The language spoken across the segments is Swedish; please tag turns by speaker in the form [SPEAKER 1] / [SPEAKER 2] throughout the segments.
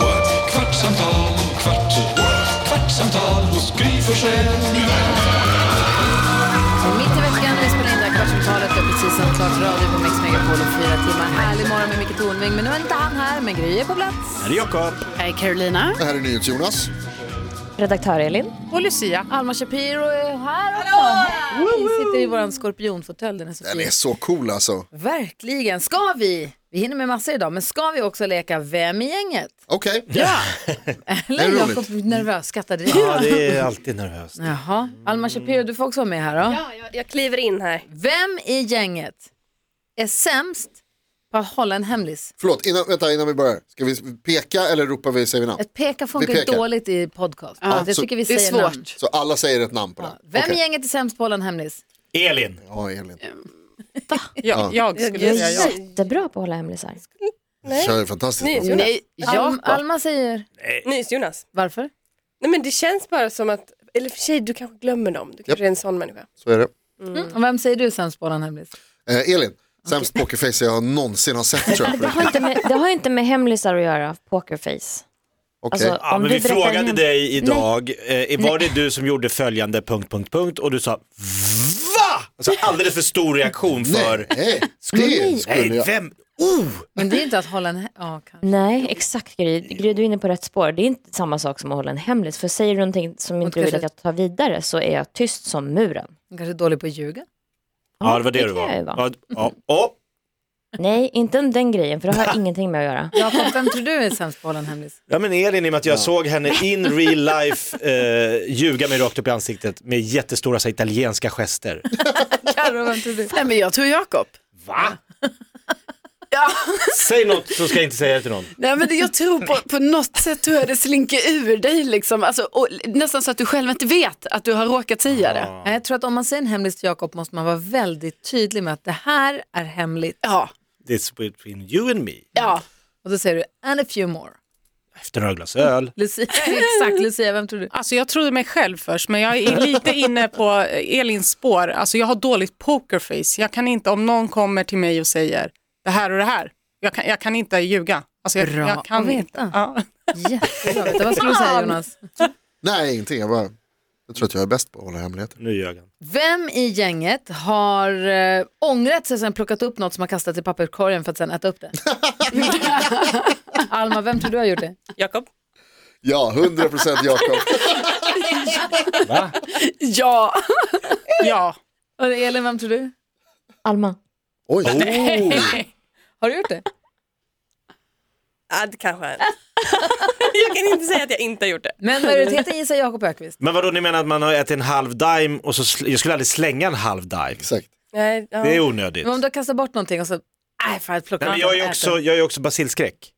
[SPEAKER 1] what? kvartsamtal, kvart, what? kvartsamtal hos Gry Forssell med vänner.
[SPEAKER 2] Mitt i veckan, vi spelar in det här kvartsamtalet. Vi har precis sänt klart radio på Mix Megapol om fyra timmar. Härlig morgon med Micke Tornving, men nu är inte han här. Men Gry är på plats.
[SPEAKER 3] Här är Jakob.
[SPEAKER 2] Här är Carolina.
[SPEAKER 4] Det här är NyhetsJonas.
[SPEAKER 5] Redaktör Elin.
[SPEAKER 2] Och Lucia. Alma Shapiro är här också. Hej! Vi sitter i vår skorpionfåtölj, den är så
[SPEAKER 4] Den
[SPEAKER 2] fin.
[SPEAKER 4] är så cool alltså.
[SPEAKER 2] Verkligen. Ska vi, vi hinner med massor idag, men ska vi också leka Vem i gänget?
[SPEAKER 4] Okej.
[SPEAKER 2] Eller
[SPEAKER 4] Är det
[SPEAKER 2] Jakob, nervös, skrattar direkt. Ja.
[SPEAKER 3] det är alltid nervöst.
[SPEAKER 2] Jaha, Alma Shapiro, du får också vara med här då.
[SPEAKER 6] Ja, jag, jag kliver in här.
[SPEAKER 2] Vem i gänget är sämst på att hålla en hemlis?
[SPEAKER 4] Förlåt, innan, vänta, innan vi börjar. Ska vi peka eller ropar vi, säger vi namn?
[SPEAKER 2] Ett peka funkar
[SPEAKER 4] Vi pekar.
[SPEAKER 2] dåligt i podcast. jag
[SPEAKER 4] så-
[SPEAKER 2] tycker vi
[SPEAKER 6] Det är
[SPEAKER 2] säger namn.
[SPEAKER 6] svårt.
[SPEAKER 4] Så alla säger ett namn på den.
[SPEAKER 2] Vem
[SPEAKER 4] Okej.
[SPEAKER 2] i gänget är sämst på att hålla en hemlis?
[SPEAKER 3] Elin.
[SPEAKER 4] Ja, Elin.
[SPEAKER 7] Ja, jag skulle
[SPEAKER 5] Jag
[SPEAKER 7] säga ja.
[SPEAKER 5] är jättebra på att hålla hemlisar.
[SPEAKER 4] Det är fantastiskt. bra.
[SPEAKER 6] NyhetsJonas. Nej,
[SPEAKER 2] Alm, Alma säger
[SPEAKER 6] NyhetsJonas.
[SPEAKER 2] varför?
[SPEAKER 6] Nej men det känns bara som att, eller för sig du kanske glömmer dem. Du kanske är en sån människa.
[SPEAKER 4] Så är det.
[SPEAKER 2] Mm. Och vem säger du är sämst på att hålla en hemlis?
[SPEAKER 4] Eh, Elin, sämst pokerface jag någonsin har sett tror jag.
[SPEAKER 5] Det har, inte med, det har inte med hemlisar att göra, pokerface.
[SPEAKER 4] Okej.
[SPEAKER 5] Alltså,
[SPEAKER 3] Ja,
[SPEAKER 5] om
[SPEAKER 3] men
[SPEAKER 5] du
[SPEAKER 3] vi
[SPEAKER 5] berättar
[SPEAKER 3] frågade
[SPEAKER 5] en-
[SPEAKER 3] dig idag, eh, var det du som gjorde följande punkt, punkt, punkt och du sa VA? Alltså alldeles för stor reaktion för,
[SPEAKER 4] Nej, det skulle
[SPEAKER 3] nej,
[SPEAKER 4] jag.
[SPEAKER 3] vem, oh!
[SPEAKER 2] Men det är inte att hålla en... he- Ja, kanske.
[SPEAKER 5] Nej, exakt Gry. Gry, du är inne på rätt spår. Det är inte samma sak som att hålla en hemlis. För säger du någonting som inte du vill att
[SPEAKER 2] kanske-
[SPEAKER 5] jag tar vidare så är jag tyst som muren.
[SPEAKER 2] Hon kanske är dålig på att ljuga.
[SPEAKER 3] Ja, det var det,
[SPEAKER 5] det
[SPEAKER 3] du
[SPEAKER 5] kan
[SPEAKER 3] var.
[SPEAKER 5] jag ju
[SPEAKER 3] Ja,
[SPEAKER 5] vara.
[SPEAKER 3] ja, ja.
[SPEAKER 5] Nej, inte om den grejen, för det har ingenting med att göra.
[SPEAKER 2] Jakob, vem tror du är sämst på att hålla en hemlis?
[SPEAKER 3] ja, men Elin i och med att jag såg henne in real life eh, ljuga mig rakt upp i ansiktet med jättestora så här, italienska gester.
[SPEAKER 2] Carro, vem tror du?
[SPEAKER 7] Nej, men jag tror Jakob.
[SPEAKER 3] Va? Säg något så ska jag inte säga det till någon.
[SPEAKER 7] Nej, men det- jag tror på, på något sätt tror jag det slinker ur dig liksom. Alltså, och, nästan så att du själv inte vet att du har råkat säga det.
[SPEAKER 2] Nej, Jag tror att om man säger en hemlis till Jakob måste man vara väldigt tydlig med att det här är hemligt.
[SPEAKER 7] Ja,
[SPEAKER 3] This between you and me.
[SPEAKER 7] ja.
[SPEAKER 2] Och då säger du and a few more.
[SPEAKER 3] Efter några glas öl.
[SPEAKER 2] Lucia, exakt Lucia, vem tror du?
[SPEAKER 8] Alltså jag trodde mig själv först, men jag är lite inne på Elins spår. Alltså jag har dåligt pokerface. Jag kan inte, om någon kommer till mig och säger det här och det här, jag kan, jag kan inte ljuga. Alltså jag,
[SPEAKER 2] Bra
[SPEAKER 8] jag kan
[SPEAKER 2] att veta.
[SPEAKER 8] inte. Ja.
[SPEAKER 2] Jättebra, vet du. vad skulle du säga Jonas?
[SPEAKER 4] Nej, ingenting. Jag, bara, jag tror att jag är bäst på att hålla hemligheter.
[SPEAKER 3] Nu ljög han.
[SPEAKER 2] Vem i gänget har eh, ångrat sig och sen plockat upp något som har kastat i papperskorgen för att sen äta upp det? Alma, vem tror du har gjort det?
[SPEAKER 6] Jakob?
[SPEAKER 4] Ja, 100 procent Jakob.
[SPEAKER 3] Va?
[SPEAKER 7] ja.
[SPEAKER 8] ja.
[SPEAKER 2] Och Elin, vem tror du?
[SPEAKER 5] Alma,
[SPEAKER 4] Oj,
[SPEAKER 3] Oh!
[SPEAKER 2] Har du gjort det?
[SPEAKER 6] Ja, det kanske är. jag kan inte säga att jag inte har gjort det.
[SPEAKER 2] Men majoriteten gissar Jakob Ökvist.
[SPEAKER 3] Men vadå, ni menar att man har ätit en halv dime och så, sl- jag skulle aldrig slänga en halv dime.
[SPEAKER 4] exakt.
[SPEAKER 6] Nej, ja.
[SPEAKER 3] Det är onödigt.
[SPEAKER 2] Men om du har kastat bort någonting och så, nej fan, plocka
[SPEAKER 3] Nej, men jag är ju också, jag är ju också basilskräck.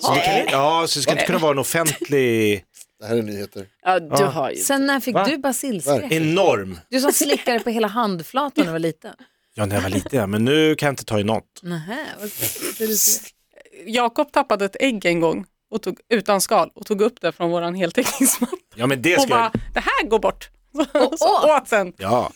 [SPEAKER 3] Så det kan, ja, så det ska inte kunna vara en offentlig
[SPEAKER 4] Det här är nyheter.
[SPEAKER 7] ja, du har ju.
[SPEAKER 2] Sen när fick
[SPEAKER 3] Va?
[SPEAKER 2] du basilskräck?
[SPEAKER 3] enorm.
[SPEAKER 2] Du som slickade på hela handflatan när du var liten.
[SPEAKER 3] Ja, när jag var liten, ja, men nu kan jag inte ta i något.
[SPEAKER 2] Nähä, vad det du ser.
[SPEAKER 8] Jakob tappade ett ägg en gång och tog, utan skal och tog upp det från våran heltäckningsmatta
[SPEAKER 3] Ja, men det
[SPEAKER 8] och
[SPEAKER 3] ska
[SPEAKER 8] bara,
[SPEAKER 3] jag...
[SPEAKER 8] det här går bort. Så, så åt sen.
[SPEAKER 3] Ja,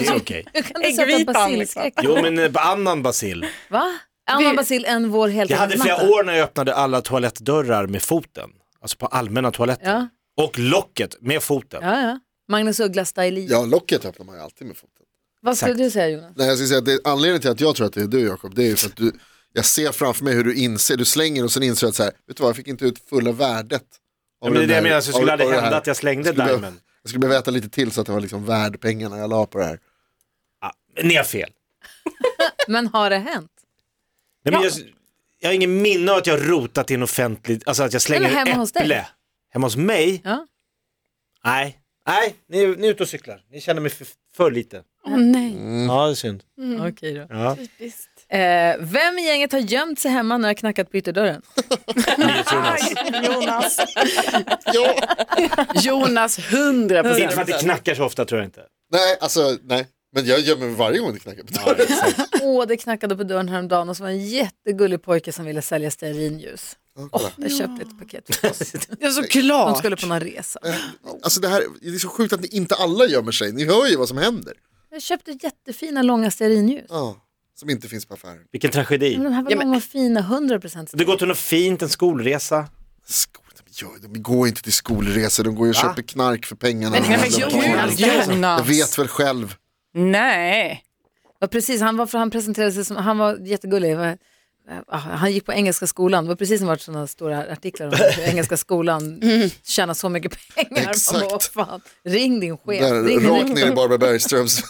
[SPEAKER 3] det är okej.
[SPEAKER 2] Hur kan du sätta en
[SPEAKER 8] Äggvipan,
[SPEAKER 2] basilskräck?
[SPEAKER 3] Jo, men eh, annan basil.
[SPEAKER 2] Va? Annan basil än vår
[SPEAKER 3] Jag hade
[SPEAKER 2] heltäckningsmatta?
[SPEAKER 3] flera år när jag öppnade alla toalettdörrar med foten. Alltså på allmänna toaletter.
[SPEAKER 2] Ja.
[SPEAKER 3] Och locket med foten.
[SPEAKER 2] Ja, ja. Magnus Uggla-style.
[SPEAKER 4] Ja, locket öppnar man ju alltid med foten.
[SPEAKER 2] Vad skulle du säga Jonas?
[SPEAKER 4] Nej, jag ska säga att det, anledningen till att jag tror att det är du Jakob, det är ju för att du, jag ser framför mig hur du inser, du slänger och sen inser du att så här, vet du vad, jag fick inte ut fulla värdet. av
[SPEAKER 3] Ja, men det är
[SPEAKER 4] den
[SPEAKER 3] det jag
[SPEAKER 4] där-
[SPEAKER 3] menar, så det
[SPEAKER 4] av-
[SPEAKER 3] skulle aldrig
[SPEAKER 4] av det här.
[SPEAKER 3] hända att jag slängde
[SPEAKER 4] skulle behöva-
[SPEAKER 3] dimen.
[SPEAKER 4] Jag skulle behöva äta lite till så att det var liksom värd pengarna jag la på det här.
[SPEAKER 3] Ni har fel.
[SPEAKER 2] Men har det hänt?
[SPEAKER 3] Nej, men jag, jag har ingen minne av att jag rotat i en offentlig, alltså att jag slänger
[SPEAKER 2] Eller hemma
[SPEAKER 3] ett
[SPEAKER 2] hos dig.
[SPEAKER 3] äpple. Hemma hos mig?
[SPEAKER 2] Ja.
[SPEAKER 3] Nej. Nej, ni, ni är ute och cyklar. Ni känner mig för, för lite. Mm.
[SPEAKER 7] Åh nej.
[SPEAKER 2] Mm.
[SPEAKER 3] Ja, det är synd.
[SPEAKER 2] Okej då.
[SPEAKER 3] Ja.
[SPEAKER 2] Eh, vem i gänget har gömt sig hemma när jag knackat på ytterdörren?
[SPEAKER 8] Jonas. Jonas 100
[SPEAKER 3] Inte för att det knackar så ofta tror jag inte.
[SPEAKER 4] Nej, alltså nej. Men jag gömmer mig varje gång det knackar på dörren.
[SPEAKER 2] Åh, det knackade på dörren häromdagen och så var det en jättegullig pojke som ville sälja stearinljus.
[SPEAKER 4] kolla.
[SPEAKER 2] jag köpte ett paket till oss.
[SPEAKER 7] Ja, såklart.
[SPEAKER 2] De skulle på någon resa.
[SPEAKER 4] Alltså det här, det är så sjukt att ni inte alla gömmer sig. Ni hör ju vad som händer.
[SPEAKER 2] Jag köpte jättefina långa stearinljus.
[SPEAKER 4] Ja, som inte finns på affären.
[SPEAKER 3] Vilken tragedi.
[SPEAKER 2] Men de här var
[SPEAKER 7] Ja, men-
[SPEAKER 2] långa och fina, 100 procent.
[SPEAKER 3] Du går till något fint, en skolresa.
[SPEAKER 4] Skol, de, gör, de går inte till skolresor, de går ju och köper knark för pengarna.
[SPEAKER 7] Men- men- men-
[SPEAKER 4] De-
[SPEAKER 7] Jonas,
[SPEAKER 4] jag
[SPEAKER 8] Jonas.
[SPEAKER 4] vet väl själv.
[SPEAKER 8] Nej.
[SPEAKER 2] Ja, precis, han, var, för han presenterade sig som, han var jättegullig. Var, ah, han gick på engelska skolan, det var precis som varit sådana stora artiklar om hur engelska skolan tjänar så mycket pengar.
[SPEAKER 4] Mm. Exakt.
[SPEAKER 2] Man bara, "Åh, fan. Ring din chef.
[SPEAKER 4] Där,
[SPEAKER 2] ring din
[SPEAKER 4] rakt ner i Barbara Bergströms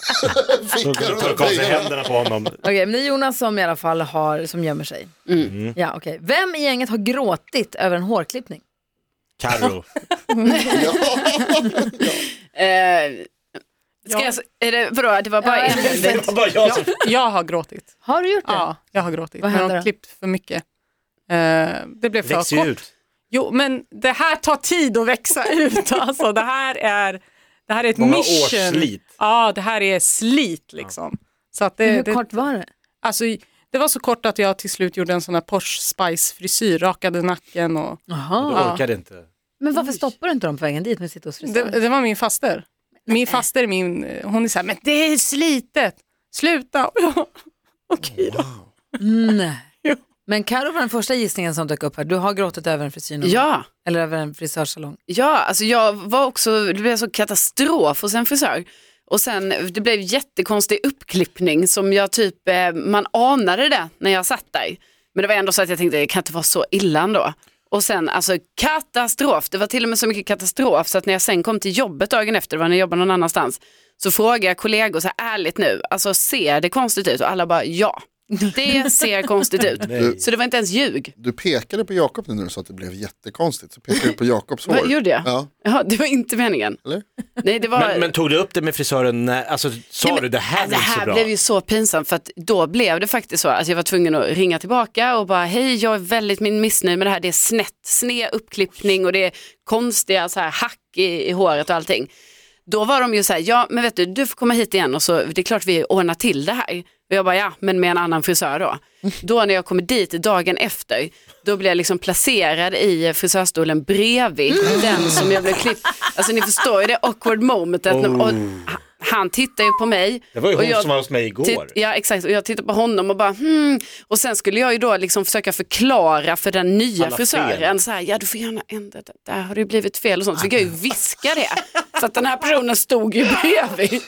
[SPEAKER 3] Du
[SPEAKER 4] fickor.
[SPEAKER 3] tar
[SPEAKER 4] och
[SPEAKER 3] av sig
[SPEAKER 4] pengarna.
[SPEAKER 3] händerna på honom.
[SPEAKER 2] Okej, men det är Jonas som i alla fall har, som gömmer sig.
[SPEAKER 4] Mm.
[SPEAKER 2] Ja, okej. Vem i gänget har gråtit över en hårklippning?
[SPEAKER 3] Carro.
[SPEAKER 7] Eh, ska jag, är det, vadå, det var bara en
[SPEAKER 3] Det var bara jag som...
[SPEAKER 8] Jag har gråtit.
[SPEAKER 2] Har du gjort det?
[SPEAKER 8] Ja, jag har gråtit.
[SPEAKER 2] Vad
[SPEAKER 8] När
[SPEAKER 2] hände
[SPEAKER 8] de
[SPEAKER 2] då?
[SPEAKER 8] klippt för mycket. Eh, det blev för
[SPEAKER 3] Växer
[SPEAKER 8] kort.
[SPEAKER 3] ut.
[SPEAKER 8] Jo, men det här tar tid att växa ut. Alltså, det, här är, det här är ett
[SPEAKER 3] Många
[SPEAKER 8] mission.
[SPEAKER 3] års slit.
[SPEAKER 8] Ja, det här är slit liksom. Så att det,
[SPEAKER 2] Hur
[SPEAKER 8] det,
[SPEAKER 2] kort var det?
[SPEAKER 8] alltså, det var så kort att jag till slut gjorde en sån här Porsche Spice frisyr, rakade nacken och
[SPEAKER 3] Du
[SPEAKER 2] Jaha.
[SPEAKER 3] orkade inte.
[SPEAKER 2] Men varför stoppar du inte dem på vägen dit när du sitter hos
[SPEAKER 8] det,
[SPEAKER 2] frisören?
[SPEAKER 8] det var min faster. Min faster är min, hon är så här, men det är slitet, sluta. Och jag, Okej då.
[SPEAKER 2] Nej.
[SPEAKER 8] Jo.
[SPEAKER 2] Mm. Men Karo var den första gissningen som dök upp här. Du har gråtit över en frisyr någon gång?
[SPEAKER 7] Ja,
[SPEAKER 2] eller över en frisörsalong.
[SPEAKER 7] ja alltså jag var också, det blev så katastrof hos en frisör. Och sen det blev jättekonstig uppklippning som jag typ, eh, man anade det när jag satt där. Men det var ändå så att jag tänkte det kan inte vara så illa ändå. Och sen alltså katastrof, det var till och med så mycket katastrof så att när jag sen kom till jobbet dagen efter, det var när jag jobbade någon annanstans, så frågade jag kollegor så här ärligt nu, alltså ser det konstigt ut? Och alla bara ja, det ser konstigt ut.
[SPEAKER 3] Nej.
[SPEAKER 7] Så det var inte ens ljug.
[SPEAKER 4] Du pekade på Jakob nu när du sa att det blev jättekonstigt. Så pekade du på Jakobs hår.
[SPEAKER 7] Vad gjorde jag?
[SPEAKER 4] Ja,
[SPEAKER 7] Ja, det var inte meningen.
[SPEAKER 4] eller?
[SPEAKER 7] Nej, det var...
[SPEAKER 3] Men, men tog du upp det med frisören? när- Alltså, sa
[SPEAKER 7] Nej, men-
[SPEAKER 3] du det här
[SPEAKER 7] Ja,
[SPEAKER 3] är
[SPEAKER 7] det
[SPEAKER 3] inte så
[SPEAKER 7] här
[SPEAKER 3] bra?
[SPEAKER 7] blev ju så pinsamt för att då blev det faktiskt så att jag var tvungen att ringa tillbaka och bara hej jag är väldigt min missnöjd med det här, det är snett, sned uppklippning och det är konstiga så här hack i, i håret och allting. Då var de ju så här, ja men vet du, du får komma hit igen och så det är klart vi ordnar till det här. Och jag bara ja, men med en annan frisör då. Då när jag kommer dit dagen efter, då blir jag liksom placerad i frisörstolen bredvid den som jag blev klippt. Alltså ni förstår ju det awkward momentet. Och, han tittar ju på mig.
[SPEAKER 3] Oh. Det var ju
[SPEAKER 7] och
[SPEAKER 3] hon
[SPEAKER 7] jag- typ-
[SPEAKER 3] som var hos mig igår.
[SPEAKER 7] Titt- ja exakt, och jag tittade på honom och bara hmm. Och sen skulle jag ju då liksom försöka förklara för den nya
[SPEAKER 3] Alla fel.
[SPEAKER 7] frisören, så här, ja du får gärna ändra det, där har det ju blivit fel och sånt. Så fick jag ju viska det. Så att den här personen stod ju bredvid.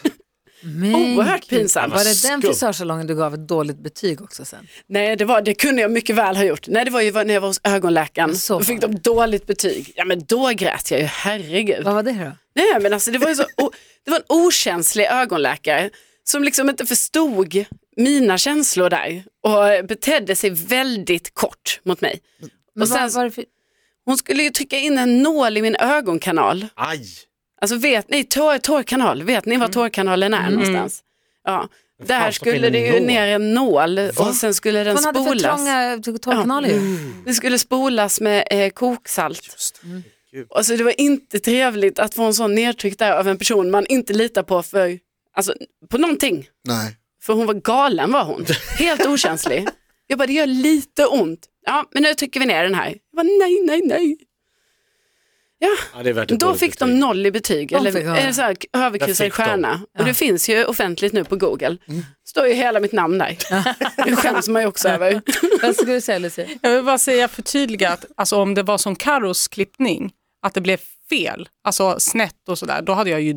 [SPEAKER 2] Men
[SPEAKER 7] Oerhört
[SPEAKER 2] gud.
[SPEAKER 7] pinsamt.
[SPEAKER 2] Var det den
[SPEAKER 3] Skumt.
[SPEAKER 2] frisörsalongen du gav ett dåligt betyg också sen?
[SPEAKER 7] Nej det, var, det kunde jag mycket väl ha gjort. Nej det var ju när jag var hos ögonläkaren,
[SPEAKER 2] Så
[SPEAKER 7] då fick de dåligt betyg. Ja men då grät jag ju, herregud.
[SPEAKER 2] Vad var det då?
[SPEAKER 7] Nej men alltså det var ju så, o- det var en okänslig ögonläkare som liksom inte förstod mina känslor där och betedde sig väldigt kort mot mig.
[SPEAKER 2] Men
[SPEAKER 7] Och sen
[SPEAKER 2] vad
[SPEAKER 7] så-
[SPEAKER 2] var det för...
[SPEAKER 7] Hon skulle ju trycka in en nål i min ögonkanal.
[SPEAKER 3] Aj!
[SPEAKER 7] Alltså vet ni, tår, tårkanal, vet ni
[SPEAKER 2] Mm.
[SPEAKER 7] var tårkanalen är någonstans? Ja, där
[SPEAKER 3] stoppar in
[SPEAKER 7] skulle
[SPEAKER 3] en
[SPEAKER 7] det ju
[SPEAKER 3] nål?
[SPEAKER 7] ner en nål och sen skulle den
[SPEAKER 2] Hon hade för
[SPEAKER 7] spolas. Mm.
[SPEAKER 2] trånga torrkanaler ju.
[SPEAKER 7] Det skulle spolas med eh, koksalt.
[SPEAKER 3] Mm.
[SPEAKER 7] Alltså det var inte trevligt att få en sån nedtryck där av en person man inte litar på för, alltså, på någonting.
[SPEAKER 4] Nej.
[SPEAKER 7] För hon var galen var hon, helt okänslig. Jag bara, det gör lite ont. Ja, men nu trycker vi ner den här. Jag bara, nej, nej, nej. Ja,
[SPEAKER 3] Ja, det är värt ett
[SPEAKER 7] då
[SPEAKER 3] dåligt
[SPEAKER 7] fick de
[SPEAKER 3] betyg.
[SPEAKER 7] noll i betyg,
[SPEAKER 2] De
[SPEAKER 7] eller,
[SPEAKER 2] fick höra.
[SPEAKER 7] eller så här, överkryssad
[SPEAKER 3] Där fick de.
[SPEAKER 7] stjärna. Och det finns ju offentligt nu på Google. Står ju hela mitt namn där. Det skäms man ju också över.
[SPEAKER 2] Vad skulle du säga Lucia?
[SPEAKER 8] Jag vill bara säga förtydliga att alltså, om det var som Karos klippning, att det blev fel, alltså snett och sådär, då hade jag ju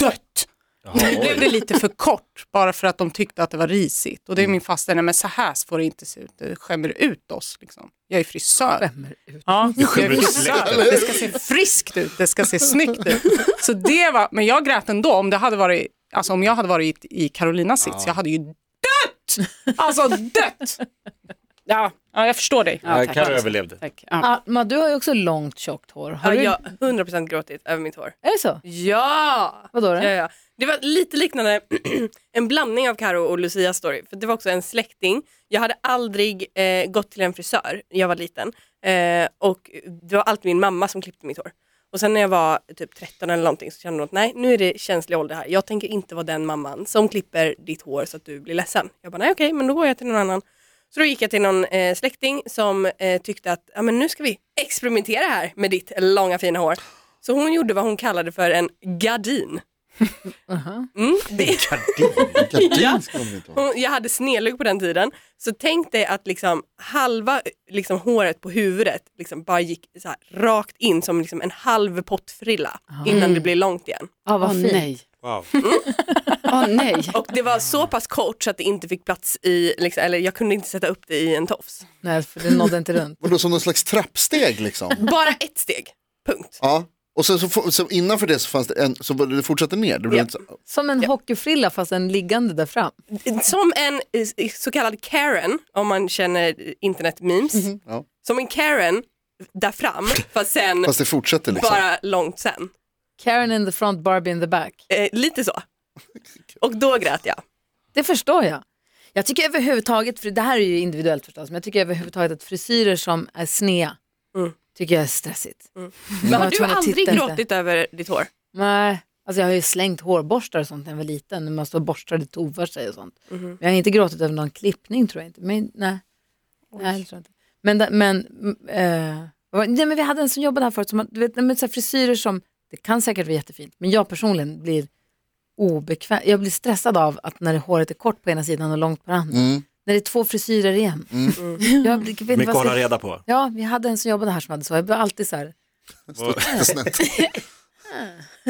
[SPEAKER 8] dött. Nu blev det lite för kort bara för att de tyckte att det var risigt. Och det är min faster, nej men så här får det inte se ut, det skämmer ut oss. Liksom. Jag är frisör. Ja, jag är
[SPEAKER 3] ut
[SPEAKER 8] frisör. Det ska se friskt ut, det ska se snyggt ut. Så det var, men jag grät ändå om, det hade varit, alltså om jag hade varit i Carolinas sits, jag hade ju dött! Alltså dött!
[SPEAKER 7] Ja,
[SPEAKER 9] Ja, jag förstår dig.
[SPEAKER 3] Ja, Karo överlevde.
[SPEAKER 10] Tack.
[SPEAKER 2] Alma, Ah, du har ju också långt tjockt hår. Har
[SPEAKER 7] Ja,
[SPEAKER 2] du...
[SPEAKER 7] jag har 100% gråtit över mitt hår.
[SPEAKER 2] Är det så?
[SPEAKER 7] Ja!
[SPEAKER 2] Vadå då?
[SPEAKER 7] Ja, ja. Det var lite liknande, en blandning av Karo och Lucias story. För Det var också en släkting. Jag hade aldrig eh, gått till en frisör när jag var liten. Eh, och Det var alltid min mamma som klippte mitt hår. Och sen när jag var typ 13 eller någonting så kände hon att nej nu är det känslig ålder här. Jag tänker inte vara den mamman som klipper ditt hår så att du blir ledsen. Jag bara nej okej men då går jag till någon annan. Så då gick jag till någon eh, släkting som eh, tyckte att ja, men nu ska vi experimentera här med ditt långa fina hår. Så hon gjorde vad hon kallade för en gardin. Mm, det,
[SPEAKER 4] Gardin ska de inte ha.
[SPEAKER 7] hon, jag hade snedlugg på den tiden, så tänk dig att liksom halva liksom, håret på huvudet liksom, bara gick så här, rakt in som liksom, en halv pottfrilla innan det blev långt igen.
[SPEAKER 2] Ja, Ah, vad
[SPEAKER 10] Åh
[SPEAKER 2] fint.
[SPEAKER 10] nej.
[SPEAKER 3] Wow.
[SPEAKER 10] Åh nej.
[SPEAKER 7] Och det var så pass kort så att det inte fick plats i, liksom, eller jag kunde inte sätta upp det i en tofs.
[SPEAKER 2] Nej, för det nådde inte runt.
[SPEAKER 4] Och då som någon slags trappsteg liksom.
[SPEAKER 7] Bara ett steg, punkt.
[SPEAKER 4] Ja. Och sen så, få- så innanför det så fanns det en, så var det- det fortsatte ner. Det blev
[SPEAKER 7] Ja.
[SPEAKER 4] inte så,
[SPEAKER 2] Som en hockeyfrilla fast en liggande där fram.
[SPEAKER 7] Som en eh, så kallad Karen, om man känner internetmemes.
[SPEAKER 4] ja.
[SPEAKER 7] Som en Karen där fram, fast sen
[SPEAKER 4] Fast det fortsätter liksom.
[SPEAKER 7] bara långt sen.
[SPEAKER 2] Karen in the front, Barbie in the back.
[SPEAKER 7] Eh, lite så. Och då grät jag.
[SPEAKER 2] Det förstår jag. Jag tycker överhuvudtaget, för det här är ju individuellt förstås, men jag tycker överhuvudtaget att frisyrer som är snea
[SPEAKER 7] Mm.
[SPEAKER 2] tycker jag är stressigt.
[SPEAKER 7] Men
[SPEAKER 2] Jag
[SPEAKER 7] har
[SPEAKER 2] var
[SPEAKER 7] du
[SPEAKER 2] tvungen att
[SPEAKER 7] aldrig
[SPEAKER 2] titta efter.
[SPEAKER 7] gråtit över ditt hår?
[SPEAKER 2] Nej, alltså jag har ju slängt hårborstar och sånt när jag var liten, när man står och borstade tovar sig och sånt. Men jag har inte gråtit över någon klippning tror jag inte. Men, nej. nej, det tror jag inte. Men, da- men, mm, eh, vad var- nej, men vi hade en som jobbade här förut, som, man- du vet, nej, men så här frisyrer som, det kan säkert vara jättefint, men jag personligen blir obekväm, jag blir stressad av att när håret är kort på ena sidan och långt på den andra. När det är två frisyrer igen. Jag, blir- vet inte
[SPEAKER 3] Mycket
[SPEAKER 2] vad
[SPEAKER 3] att
[SPEAKER 2] jag
[SPEAKER 3] hålla
[SPEAKER 2] ska-
[SPEAKER 3] reda på.
[SPEAKER 2] Ja, vi hade en som jobbade här som hade så. Jag blev alltid så här,
[SPEAKER 4] Stod snett.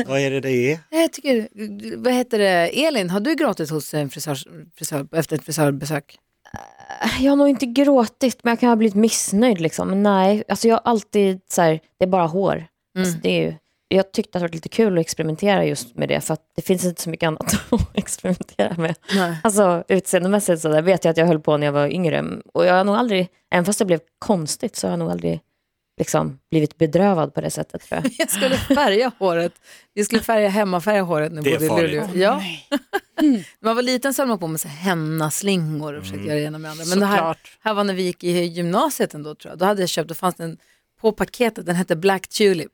[SPEAKER 3] Vad är det det är?
[SPEAKER 2] jag tycker, vad heter det, Elin, har du gråtit hos en frisörs, frisör, efter ett frisörbesök?
[SPEAKER 5] Äh, Jag har nog inte gråtit, men jag kan ha blivit missnöjd. Liksom. Men nej, alltså jag har alltid så här, det är bara hår. Alltså det är ju, jag tyckte att det var lite kul att experimentera just med det, för att det finns inte så mycket annat att experimentera med.
[SPEAKER 2] Nej.
[SPEAKER 5] Alltså utseendemässigt så där vet jag att jag höll på när jag var yngre. Och jag har nog aldrig, även fast det blev konstigt, så har jag nog aldrig liksom, blivit bedrövad på det sättet. Tror jag.
[SPEAKER 2] Jag skulle färga håret. Vi skulle färga hemmafärga håret när
[SPEAKER 3] Det
[SPEAKER 2] vi
[SPEAKER 3] är
[SPEAKER 2] bodde i
[SPEAKER 3] farligt.
[SPEAKER 2] Luleå. Ja. När man var liten så höll man på med så här hennaslingor och försökte
[SPEAKER 3] Mm.
[SPEAKER 2] göra det ena med det andra. Men det här,
[SPEAKER 9] Såklart.
[SPEAKER 2] här var när vi gick i gymnasiet ändå tror jag. Då hade jag köpt, då fanns det en, på paketet, den hette Black Tulip.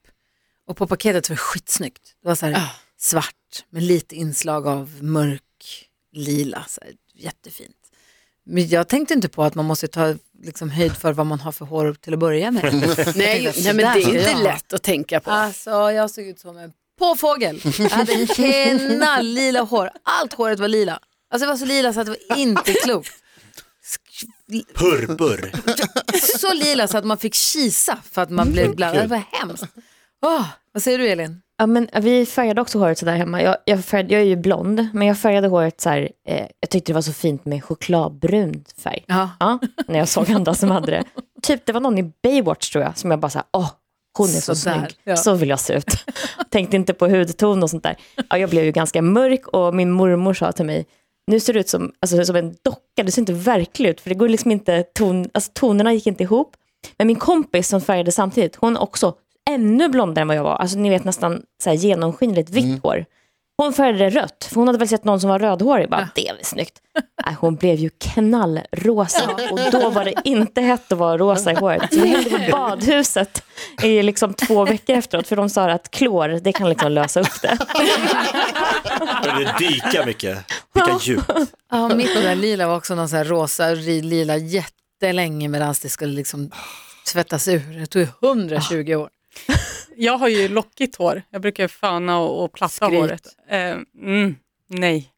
[SPEAKER 2] Och på paketet så var det skitsnyggt. Det var så här
[SPEAKER 10] Ah.
[SPEAKER 2] svart med lite inslag av mörk lila. Så här, jättefint. Men jag tänkte inte på att man måste ta liksom, höjd för vad man har för hår till att börja med.
[SPEAKER 10] Nej, ju- nej, men det är inte lätt att tänka på.
[SPEAKER 2] Alltså jag såg ut som en påfågel. Jag hade knallila hår. Allt håret var lila. Alltså det var så lila så att det var inte klokt.
[SPEAKER 3] Purpur.
[SPEAKER 2] Så lila så att man fick kisa för att man blev blandad. Det var hemskt. Åh, vad säger du Elin?
[SPEAKER 5] Ja, men vi färgade också håret sådär hemma. Jag, jag, färgade, jag är ju blond, men jag färgade håret så här, eh, jag tyckte det var så fint med chokladbrun färg.
[SPEAKER 2] Ja.
[SPEAKER 5] när jag såg andra som hade det. Typ det var någon i Baywatch tror jag, som jag bara såhär, åh, hon är så
[SPEAKER 2] Sådär,
[SPEAKER 5] snygg,
[SPEAKER 2] ja.
[SPEAKER 5] så vill jag se ut. Tänkte inte på hudton och sånt där. Ja, jag blev ju ganska mörk och min mormor sa till mig, nu ser du ut som, alltså, som en docka, du ser inte verklig ut, för det går liksom inte, ton, alltså, tonerna gick inte ihop. Men min kompis som färgade samtidigt, hon är också ännu blondare än vad jag var, alltså ni vet nästan så här genomskinligt vitt hår. Hon färgade det rött, för hon hade väl sett någon som var rödhårig. Bara, Det är väl snyggt. Nej, hon blev ju knallrosa och då var det inte hett att vara rosa i håret. Så det hängde på badhuset i liksom två veckor efteråt, för de sa att klor, det kan liksom lösa upp det.
[SPEAKER 3] Började dyka mycket. Vilka djupt.
[SPEAKER 2] Ja, mitt det där lila var också någon sån här rosa, ri- lila jättelänge medan det skulle liksom tvättas ur. Det tog ju 120 år.
[SPEAKER 9] Jag har ju lockigt hår. Jag brukar ju föna och, och platta
[SPEAKER 2] Skryt.
[SPEAKER 9] håret. Eh, mm, nej.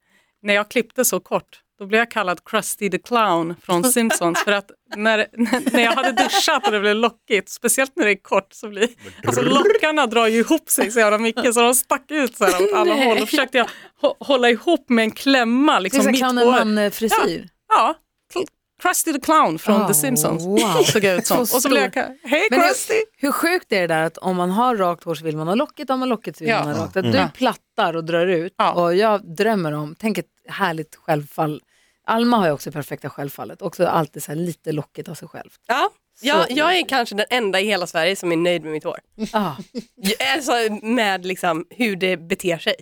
[SPEAKER 9] När jag klippte så kort, då blev jag kallad Krusty the Clown från Simpsons. för att när, när jag hade duschat och det blev lockigt, speciellt när det är kort, så blir... Alltså lockarna drar ju ihop sig så jävla mycket, så de stack ut så här åt alla håll. Då försökte jag hå- hålla ihop med en klämma,
[SPEAKER 2] Det är
[SPEAKER 9] liksom
[SPEAKER 2] så här
[SPEAKER 9] mitt
[SPEAKER 2] clownen
[SPEAKER 9] hår.
[SPEAKER 2] man-frisyr.
[SPEAKER 9] Ja, Cl- Krusty the Clown från
[SPEAKER 2] Oh,
[SPEAKER 9] The Simpsons
[SPEAKER 2] wow.
[SPEAKER 9] såg jag ut som.
[SPEAKER 2] Så
[SPEAKER 9] Och så blev jag
[SPEAKER 2] stor.
[SPEAKER 9] kallad, hej
[SPEAKER 2] Men
[SPEAKER 9] Krusty!
[SPEAKER 2] hur, hur sjukt är det där att om man har rakt hår så vill man ha lockigt, om man har lockigt så vill
[SPEAKER 9] Ja.
[SPEAKER 2] man ha rakt. Att du plattar och drar ut
[SPEAKER 9] Ja.
[SPEAKER 2] och jag drömmer om, tänk ett härligt självfall. Alma har ju också perfekta självfallet, också alltid så här lite lockigt av sig själv.
[SPEAKER 7] Ja, jag,
[SPEAKER 2] Så-
[SPEAKER 7] jag är kanske den enda i hela Sverige som är nöjd med mitt hår.
[SPEAKER 2] Ah,
[SPEAKER 7] Jag- Alltså med liksom hur det beter sig.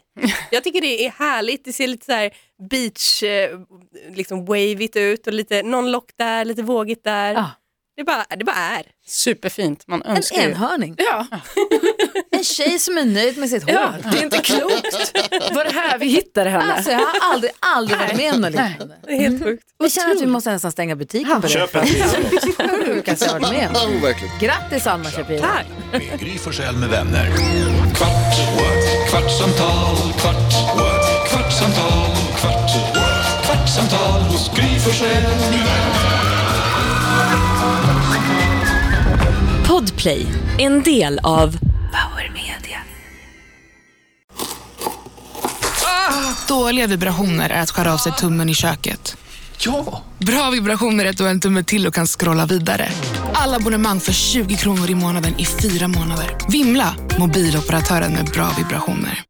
[SPEAKER 7] Jag tycker det är härligt, det ser lite så här beach, eh, liksom wavigt ut och lite, någon lock där, lite vågigt där.
[SPEAKER 2] ah.
[SPEAKER 7] Det, bara, det bara är.
[SPEAKER 11] Superfint, man önskar
[SPEAKER 2] En
[SPEAKER 11] ju.
[SPEAKER 2] enhörning.
[SPEAKER 12] Ja.
[SPEAKER 2] En tjej som är nöjd med sitt hår.
[SPEAKER 12] Ja, det är inte klokt. Var det här vi hittade henne?
[SPEAKER 2] Alltså jag har aldrig, aldrig varit med om något liknande. Mm.
[SPEAKER 7] Det är helt sjukt.
[SPEAKER 2] Vi känner att vi måste nästan stänga butiken på det.
[SPEAKER 3] Köp en pilot.
[SPEAKER 2] Det sjukaste jag varit med om.
[SPEAKER 4] Ja, verkligen.
[SPEAKER 2] Grattis Alma Shapiro.
[SPEAKER 7] Tack.
[SPEAKER 1] Med Gry Forssell med vänner. Kvart, what? kvartsamtal, kvart, what? kvartsamtal, kvart, what? kvartsamtal hos Gry Forssell med vänner.
[SPEAKER 5] Podplay, en del av Power Media.
[SPEAKER 13] Dåliga vibrationer är att skära av sig tummen i köket.
[SPEAKER 1] Ja!
[SPEAKER 13] Bra vibrationer är att du har en tumme till och kan scrolla vidare. Alla abonnemang för 20 kronor i månaden i fyra månader. Vimla! Mobiloperatören med bra vibrationer.